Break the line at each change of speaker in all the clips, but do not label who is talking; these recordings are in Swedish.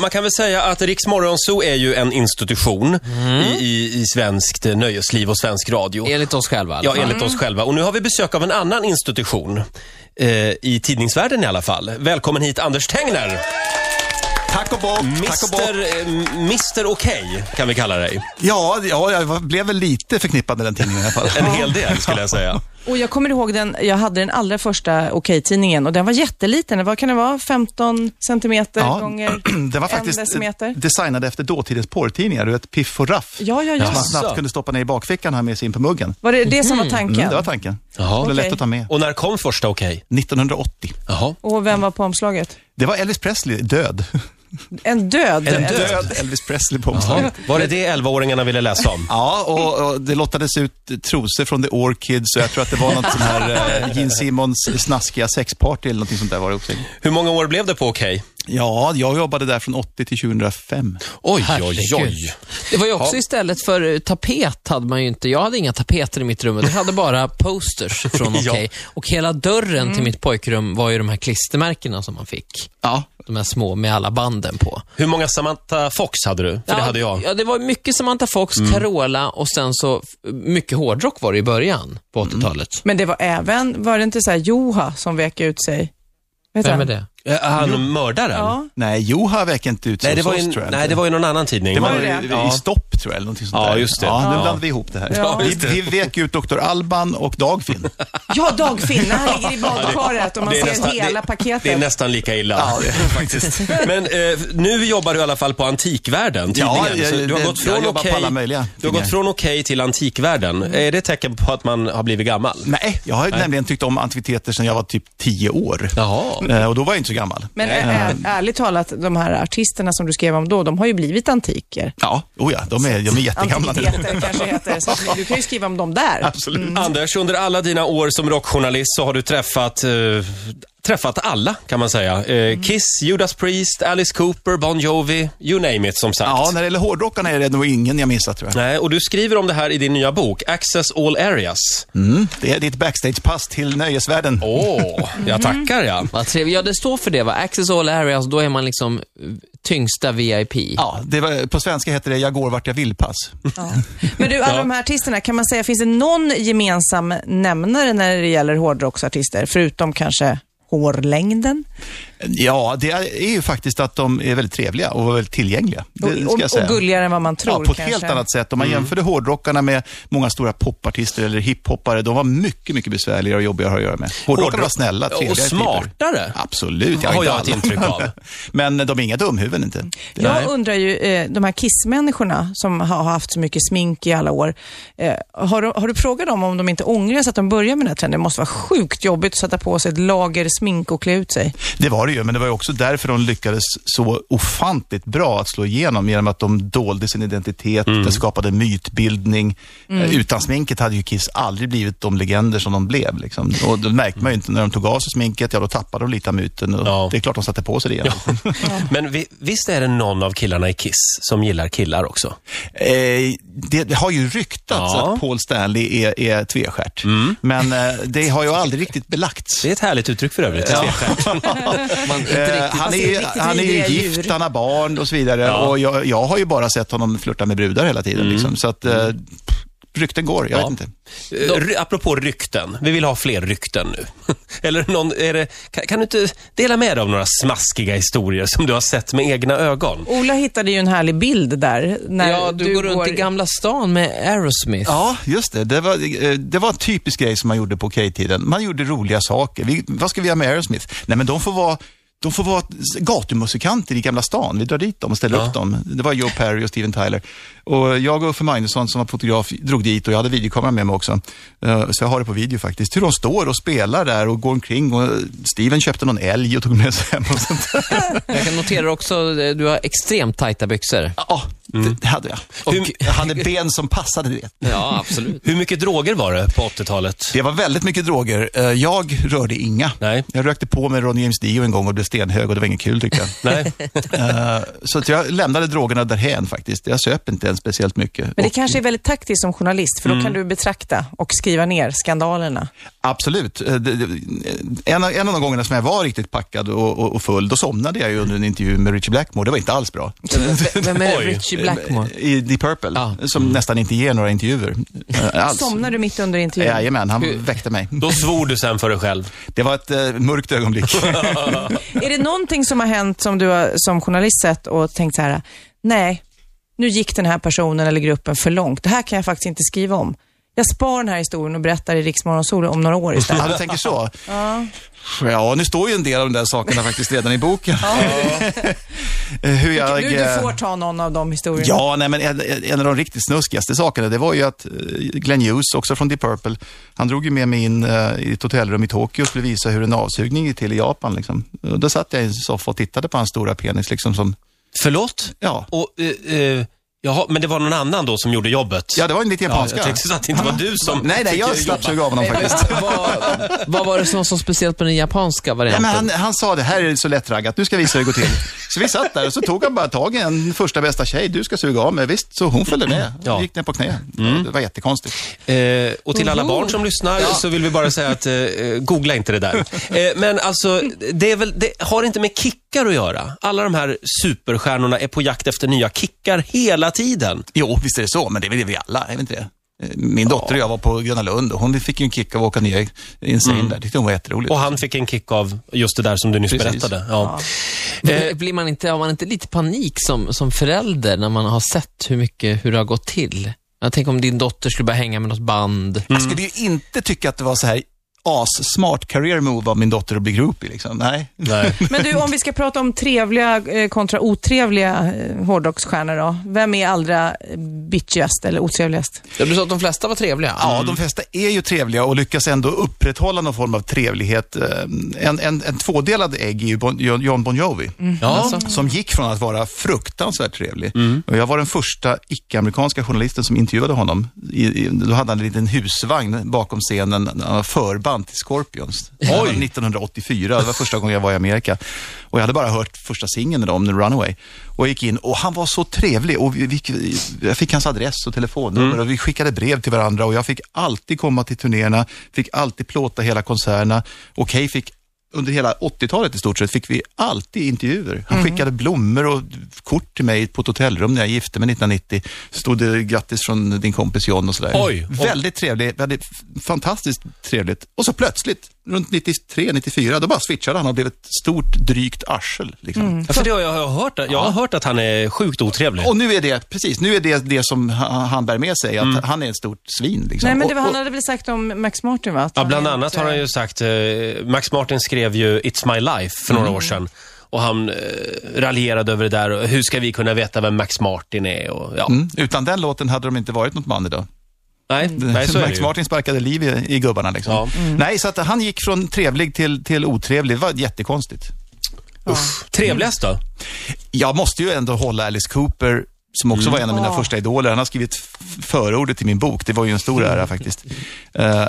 Man kan väl säga att Riks Morgonzoo är ju en institution i, i, i svenskt eh, nöjesliv och svensk radio.
Enligt oss själva. i alla
Ja,
fall.
enligt oss själva. Och nu har vi besök av en annan institution. Eh, I tidningsvärlden i alla fall. Välkommen hit Anders Tengner!
Tack och bock, tack och bock.
Mr, eh, Mr Okej kan vi kalla dig.
Ja, ja, jag var- blev väl lite förknippad med den tidningen i alla fall.
En hel del skulle jag säga.
Och jag kommer ihåg den, jag hade den allra första Okej-tidningen och den var jätteliten. Vad kan det vara? 15 centimeter gånger
det var
en
faktiskt
decimeter?
designad efter dåtidens porrtidningar, du vet Piff och Raff.
Ja, ja,
Som
ja.
man snabbt kunde stoppa ner i bakfickan och ha med sig in på muggen.
Var det det som var tanken?
Mm, det var tanken.
Jaha.
Det var lätt
Okej.
att ta med.
Och när kom första Okej?
1980.
Jaha.
Och vem var på omslaget?
Det var Elvis Presley, död.
En död.
En död.
Elvis Presley på
Ja.
omslaget.
Var det det 11-åringarna ville läsa om?
Ja, och, och det lottades ut trosor från The Orchids och jag tror att det var något sån här eh, Gene Simmons snaskiga sexparty eller någonting sånt där var det också.
Hur många år blev det på Okej?
Ja, jag jobbade där från 80 till 2005.
Oj, oj,
Herregud.
oj.
Det var ju också istället för eh, tapet hade man ju inte. Jag hade inga tapeter i mitt rum. Jag hade bara posters från Okej.
Ja.
Och hela dörren till mitt pojkrum var ju de här klistermärkena som man fick.
Ja,
De här små med alla banden på.
Hur många Samantha Fox hade du? För det hade jag. Mm.
Ja, det var mycket Samantha Fox, Carola och sen så f- mycket hårdrock var det i början på
Mm.
80-talet.
Men det var även, var det inte så här Joha som vek ut sig? Vet
Vem är det?
Eh, Han mördaren?
Ja.
nej, Joha väcker inte ut sig
Nej, det
hos
var
oss,
ju,
tror jag.
nej,
inte.
det var ju någon annan tidning.
det var
Var det
i-
det?
i stopp, tror jag, eller någonting sånt
Ja,
där.
just det.
Ja, nu
Ja.
blandade vi ihop det här.
Ja,
vi,
just det.
vi vek ut Dr. Alban och Dagfinn.
Ja, Dagfinn, när han ligger i badkaret och man
Det är
ser
nästan-
hela
det,
paketet.
Det är nästan lika illa.
faktiskt.
Men eh, nu jobbar du i alla fall på Antikvärlden,
Ja,
tidningen. Så
jag-
du har
jag-
gått
jag
från
jobbar på
okej,
alla möjliga
Du har gått
tidningar.
från okej till Antikvärlden. Är det ett tecken på att man har blivit gammal?
Nej, jag har nämligen tyckt om antikviteter sedan jag var typ 10 år.
Jaha.
Eh, Och då var jag inte så gammal.
Men ä- ä- ärligt talat, de här artisterna som du skrev om då, de har ju blivit antiker.
Ja, oh ja, de är, de är jättegamla nu.
Antikviteter Mm. kanske heter. Så att du kan ju skriva om dem där.
Absolut.
Anders, under alla dina år som rockjournalist så har du träffat, eh, träffat alla kan man säga.
Mm.
Eh, Kiss, Judas Priest, Alice Cooper, Bon Jovi, you name it som sagt.
Ja, när det gäller hårdrockarna är det nog ingen jag missat tror jag.
Nej, och du skriver om det här i din nya bok, Access All Areas.
Mm. Det är ditt backstagepass till nöjesvärlden.
Åh, jag tackar ja.
Vad trevligt. Ja, det står för det va? Access all areas, då är man liksom eh, tyngsta VIP.
Ja, det var, på svenska heter det jag går vart jag vill-pass.
Mm.
Men du, alla de här artisterna, kan man säga, finns det någon gemensam nämnare när det gäller hårdrocksartister? Förutom kanske hårlängden?
Ja, det är ju faktiskt att de är väldigt trevliga och väldigt tillgängliga. Det
Och,
ska jag
och,
säga.
och gulligare än vad man tror
Ja, på ett
kanske. Mm.
helt annat sätt. Om man jämförde hårdrockarna med många stora popartister eller hiphoppare, de var mycket, mycket besvärligare och jobbigare att ha att göra med. Hårdrockarna
Hårdrock-
var snälla,
och
trevliga typer.
smartare.
Absolut, jag
Har
inte
jag ett
alla.
intryck av.
Men de är inga dumhuvuden inte.
Jag undrar ju, eh, de här kissmänniskorna som har haft så mycket smink i alla år. Eh, har, du, har du frågat dem om de inte ångrar sig att de börjar med den här trenden? Det måste vara sjukt jobbigt att sätta på sig ett lager smink och klä ut sig.
Det var det ju, men det var ju också därför de lyckades så ofantligt bra att slå igenom, genom att de dolde sin identitet,
Mm.
det skapade mytbildning. Eh, Utan sminket hade ju Kiss aldrig blivit de legender som de blev. Liksom. Och det märkte man ju inte när de tog av sig sminket, ja då tappade de lite av myten. Och
Ja.
Det är klart de satte på sig det igen.
Men vi, visst är det någon av killarna i Kiss som gillar killar också?
Eh, det, det har ju ryktats
Ja. Mm.
att Paul Stanley är, är tvestjärt, men eh, det har ju aldrig riktigt belagts.
Det är ett härligt uttryck för övrigt.
Ja.
Man, inte
Eh,
riktigt.
han,
ser
är,
riktigt
han är ju
vidriga
gift,
djur.
han har barn och så vidare. Och jag, jag har ju bara sett honom flirta med brudar hela tiden. Liksom. Så att, eh, pff, rykten går, jag
Ja.
vet inte.
Eh, ry- Apropå rykten, vi vill ha fler rykten nu. Eller någon, är det, kan, kan du inte dela med dig av några smaskiga historier som du har sett med egna ögon?
Ola hittade ju en härlig bild där. När
ja, du, går runt i Gamla stan med Aerosmith.
Ja, just det. Det var, eh, det var en typisk grej som man gjorde på K-tiden. Man gjorde roliga saker. Vi, vad ska vi göra med Aerosmith? Nej, men de får vara de får vara gatumusikanter i Gamla stan. Vi drar dit dem och ställer upp dem. Det var Joe Perry och Steven Tyler. Och jag och Uffe Magnusson som var fotograf drog dit och jag hade videokamera med mig också. Eh, Så jag har det på video faktiskt. Hur de står och spelar där och går omkring. Och Steven köpte någon älg och tog med sig hem och sånt där.
Jag kan notera också, eh, du har extremt tajta byxor.
Ja, Det, det hade jag.
Och-
jag hade ben som passade det.
Ja, absolut.
Hur mycket droger var det på 80-talet?
Det var väldigt mycket droger. Eh, Jag rörde inga.
Nej.
Jag rökte på med Ronny James Dio en gång och blev stenhög och det var inget kul tyckte jag.
Nej.
Eh, så att jag lämnade drogerna därhen faktiskt. Jag söp inte ens speciellt mycket.
Men det
Och- Mm.
kanske är väldigt taktiskt som journalist, för då kan du betrakta och skriva ner skandalerna.
Absolut. Eh, det- det- En av, en av de gångerna som jag var riktigt packad och, och, och full, då somnade jag ju under en intervju med Richie Blackmore. Det var inte alls bra.
V- Vem är
Oj.
Richie Blackmore?
I Deep Purple,
Ah.
Ja.
som
Mm.
nästan inte ger några intervjuer. eh, alls.
Somnar du mitt under intervjun?
Jajamän, han väckte mig.
Då svor du sen för dig själv.
Det var ett eh, mörkt ögonblick.
Är det någonting som har hänt som du har, som journalist sett och tänkt så här, nej, nu gick den här personen eller gruppen för långt. Det här kan jag faktiskt inte skriva om. Jag spar den här historien och berättar i Riksmorgonsol om några år istället.
Ja, du tänker så. Ja, nu står ju en del av de där sakerna faktiskt redan i boken. Eh, Hur jag...
Du, du
eh,
får ta någon av de historierna.
Ja, nej, men en, en av de riktigt snuskigaste sakerna, det var ju att eh, Glenn Hughes, också från Deep Purple, han drog ju med mig in eh, i ett hotellrum i Tokyo och skulle visa hur en avsugning gick till i Japan. Liksom. Och då satt jag i en soffa och tittade på hans stora penis liksom som,
Förlåt?
ja.
Och, eh, eh, jaha, men det var någon annan då som gjorde jobbet?
Ja, det var en lite
Ja,
japanska.
jag tänkte så att det inte var du som
nej, nej,
fick
jag
jobba.
slapp suga av honom faktiskt.
vad, vad var det som var så speciellt med den japanska
Nej,
varianten?
men han, han sa det här är så lättraggat, nu ska jag visa hur det går till. Så vi satt där och så tog han bara tag i en första bästa tjej, du ska suga av mig. Visst, så hon följde med.
Ja.
Gick ner på knä. Det var jättekonstigt.
Eh, och till alla barn som lyssnar så vill vi bara säga att eh, eh, googla inte det där. Eh, men alltså, det, är väl, det har inte med kickar att göra. Alla de här superstjärnorna är på jakt efter nya kickar hela tiden.
Jo, visst är det så, men det är väl vi alla, är vi inte det? Eh, Min dotter och jag var på Gröna Lund och hon fick ju en kick av att åka ner Insane där. tyckte hon var jätteroligt.
Och han fick en kick av just det där som du nyss
Precis.
berättade. Ja.
Eh, Blir man inte, har man inte lite panik som, som förälder när man har sett hur mycket, hur det har gått till? Jag tänker om din dotter skulle börja hänga med något band.
Jag skulle ju inte tycka att det var så här as-smart career move av min dotter att bli groupie liksom. Nej.
Nej.
Men du, om vi ska prata om trevliga eh, kontra otrevliga eh, hårdrocksstjärnor då. Vem är allra eh, bitchigast eller otrevligast?
Ja, Du sa att de flesta var trevliga.
Ja, de flesta är ju trevliga och lyckas ändå upprätthålla någon form av trevlighet. Eh, En, en, en tvådelad ägg är ju bon, John John Bon Jovi.
Ja.
Som gick från att vara fruktansvärt trevlig. Och jag var den första icke-amerikanska journalisten som intervjuade honom. I, i, då hade han en liten husvagn bakom scenen, när han var förband till Scorpions. Det här var 1984, det var första gången jag var i Amerika. Och jag hade bara hört första singeln med dem, Runaway. Och jag gick in och han var så trevlig. Och vi, vi, jag fick hans adress och telefonnummer och vi skickade brev till varandra. Och jag fick alltid komma till turnéerna, fick alltid plåta hela konserterna. Och Kay fick under hela 80-talet i stort sett fick vi alltid intervjuer. Han skickade blommor och kort till mig på ett hotellrum när jag gifte mig 1990. Stod det grattis från din kompis John och sådär.
Oj, oj.
Väldigt trevlig, väldigt f- fantastiskt trevligt. Och så plötsligt, runt 93, 94, då bara switchade han och blev ett stort drygt arsel. Liksom.
Mm.
Ja, För det har jag jag har hört. Jag har hört att han är sjukt otrevlig.
Och nu är det, precis, nu är det det som ha- han bär med sig, att han är ett stort svin. Liksom.
Mm. Nej, men det var,
Och-
han hade väl sagt om Max Martin va? Att
Ja,
han
bland
är
annat har
otrevlig.
han ju sagt, eh, Max Martin skrev ju It's My Life för några
Mm.
år sedan. Och han eh, raljerade över det där. Och hur ska vi kunna veta vem Max Martin är? Och, ja.
och, mm, utan den låten hade de inte varit något band idag.
Nej, nej, så är det
Max
ju.
Martin sparkade liv i, i gubbarna liksom.
Ja.
Mm.
Nej, så att han gick från trevlig till, till otrevlig. Det var jättekonstigt.
Trevligast då?
Jag måste ju ändå hålla Alice Cooper, som också var en av mina första idoler. Han har skrivit f- förordet till min bok. Det var ju en stor ära faktiskt. Eh,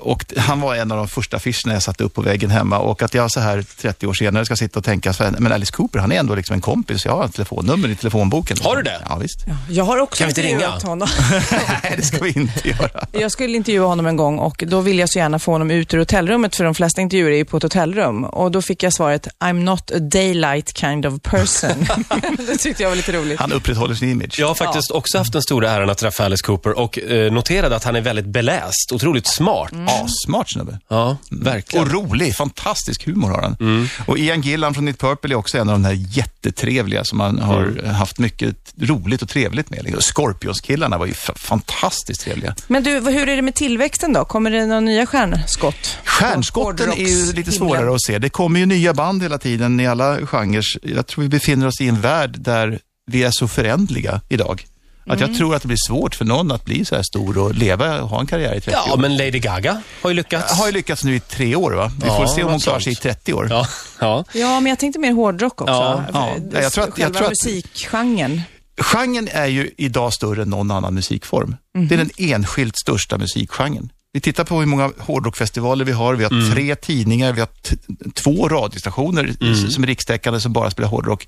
och t- han var en av de första affischerna jag satte upp på väggen hemma. Och att jag så här 30 år senare ska sitta och tänka, så här, men Alice Cooper, han är ändå liksom en kompis. Jag har ett telefonnummer i telefonboken.
Har du det?
Ja, visst.
Jag har också
Kan vi inte ringa?
intervjuat honom.
Nej, det ska vi inte göra.
Jag skulle intervjua honom en gång och då ville jag så gärna få honom ut ur hotellrummet för de flesta intervjuer är ju på ett hotellrum. Och då fick jag svaret I'm not a daylight kind of person. det tyckte jag var lite roligt.
Han upprätthåller sin image.
Jag har faktiskt också haft den stora äran att träffa Alice Cooper och eh, noterade att han är väldigt beläst, otroligt smart.
Assmart snubbe.
Mm. Ja, Mm. verkligen.
Och rolig, fantastisk humor har han. Och Ian Gillan från Deep Purple är också en av de här jättetrevliga som man har
Mm.
haft mycket roligt och trevligt med. Liksom. Scorpions-killarna var ju fa- fantastiskt trevliga.
Men du, vad- hur är det med tillväxten då? Kommer det några nya stjärnskott?
Stjärnskotten är ju lite
Hårdrockshimlen.
svårare att se. Det kommer ju nya band hela tiden i alla genrer. Jag tror vi befinner oss i en värld där vi är så förändliga idag. Att
Mm.
jag tror att det blir svårt för någon att bli så här stor och leva och ha en karriär i 30
Ja,
år.
men Lady Gaga har ju lyckats.
Har ju lyckats nu i tre år va? Vi
Ja,
får se om hon
något
klarar
sånt.
sig i 30 år.
Ja, ja.
Ja, men jag tänkte mer hårdrock också.
Ja,
ja.
För-
Nej, jag tror att- jag
Själva
tror att-
musikgenren.
genren är ju idag större än någon annan musikform. Det är
Mhm.
den enskilt största musikgenren. Vi tittar på hur många hårdrockfestivaler vi har. Vi har
Mm.
tre tidningar, vi har t- två radiostationer i-
Mm.
som är rikstäckande som bara spelar hårdrock.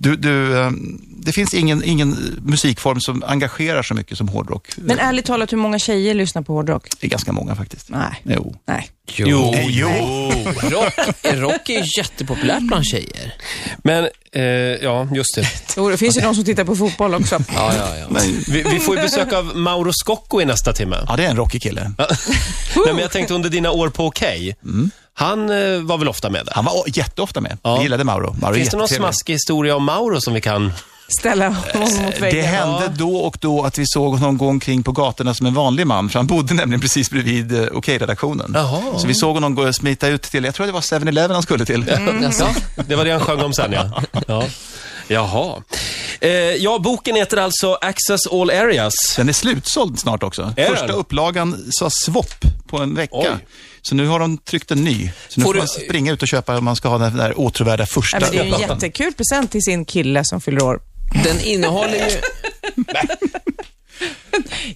Du, du, eh, det finns ingen, ingen musikform som engagerar så mycket som hårdrock.
Men ärligt talat, hur många tjejer lyssnar på hårdrock?
Det är ganska många faktiskt.
Nej.
Jo.
Nej.
Jo,
Eh, jo.
Rock, rock är ju jättepopulärt bland tjejer.
Men, eh, ja, just det.
Jo, det finns ju de som tittar på fotboll också.
Ja, ja, ja.
Men,
Vi, vi får ju besök av Mauro Scocco i nästa timme.
ja, det är en rockig kille.
Nej, men jag tänkte under dina år på Okej. Han eh, var väl ofta med där?
Han var jätteofta med.
Ja.
Vi gillade Mauro. Mauro är
Finns det någon
jättetrevlig.
smaskig historia om Mauro som vi kan...
Ställa honom mot
Eh, Det
väggen.
hände då och då att vi såg honom gå omkring på gatorna som en vanlig man, för han bodde nämligen precis bredvid eh, Okej-redaktionen.
Jaha.
Så vi såg honom gå och smita ut till, jag tror det var 7-Eleven han skulle till.
Mm.
Ja, det var det han sjöng om sen, ja. ja. Jaha. Eh, ja, boken heter alltså Access All Areas.
Den är slutsåld snart också.
Är den?
Första upplagan sa svopp på en vecka.
Oj.
Så nu har de tryckt en ny. Så nu
Får
får,
du-
man springa ut och köpa om man ska ha den där åtråvärda första
Nej, men det är ju en
upplagan.
jättekul present till sin kille som fyller år.
Den innehåller ju...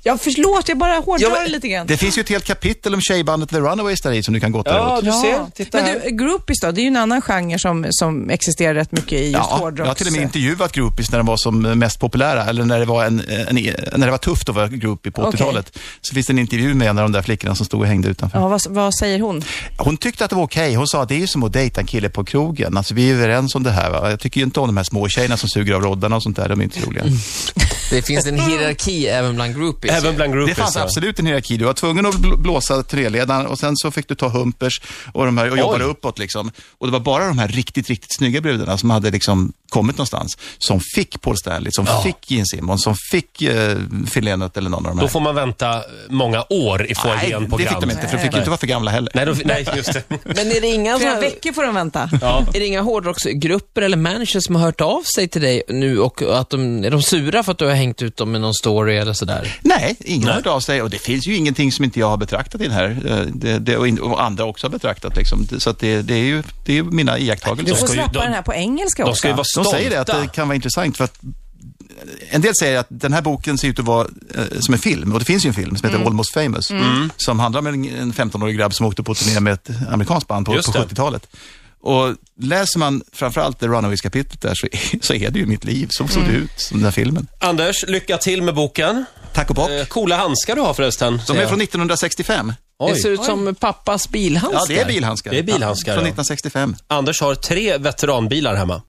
Jag förlåt, jag bara hårdrar
Ja, men-
lite grann.
Det finns ju ett helt kapitel om tjejbandet The Runaways där i som du kan gå
Ja,
åt.
du ser. Titta
Men
här.
du, groupies då? Det är ju en annan genre som, som existerar rätt mycket i just
Ja, jag
hårdrocks...
har till och med intervjuat groupies när de var som mest populära, eller när det var, en, en, när det var tufft att vara groupie på
Okej.
80-talet. Så finns det en intervju med en av de där flickorna som stod och hängde utanför.
Ja, vad, vad säger hon?
Alltså-
Hon tyckte att det var okej. Hon sa att det är ju som att dejta en kille på krogen. Alltså vi är överens om det här. Va? Jag tycker ju inte om de här små tjejerna som suger av roddarna och sånt där. De är inte roliga.
Mm.
Det finns en hierarki även bland groupies.
Även bland
Det
groupies.
fanns
ja.
absolut en hierarki. Du var tvungen att bl- blåsa turnéledaren och sen så fick du ta humpers och, de här, och jobbade
Oj.
uppåt. Liksom. Och det var bara de här riktigt, riktigt snygga brudarna som hade liksom kommit någonstans. Som fick Paul Stanley, som fick Gene Simmons, som fick eh, Phil Lennart eller någon av de här.
Då får man vänta många år i
Nej,
foajén på
det fick de inte, för de fick ju inte vara för gamla heller.
Nej, då, nej, just det.
Men är det inga,
Flera
såna,
veckor får de vänta.
Ja.
är det inga hårdrocksgrupper eller managers som har hört av sig till dig nu och att de är de sura för att du har hängt ut dem i någon story eller sådär?
Nej, ingen har hört av sig och det finns ju ingenting som inte jag har betraktat i den här. Eh, Det, det, och, in, och andra också har betraktat. Liksom. Det- Så att det, det, är ju, det är ju mina
Du
iakttagelser.
får
ska ju-
släppa
de-
den här på engelska
De
också.
ska ju vara
De
stolta.
säger det, att det kan vara intressant för att eh, en del säger att den här boken ser ut att vara eh, som en film och det finns ju en film som heter Almost famous som handlar om en, en 15-årig grabb som åkte på turné med ett amerikanskt band på, på
Just det.
70-talet. Och läser man framförallt The Runaways-kapitlet där så, så är det ju mitt liv. Så såg det ut, som den här filmen.
Anders, lycka till med boken.
Tack och bock.
Eh, coola handskar du har förresten.
De
ser
är
jag.
från 1965.
Det ser
Oj.
ut som pappas bilhandskar.
Ja, det är bilhandskar.
Det är bilhandskar,
Från
ja.
1965.
Anders har tre veteranbilar hemma.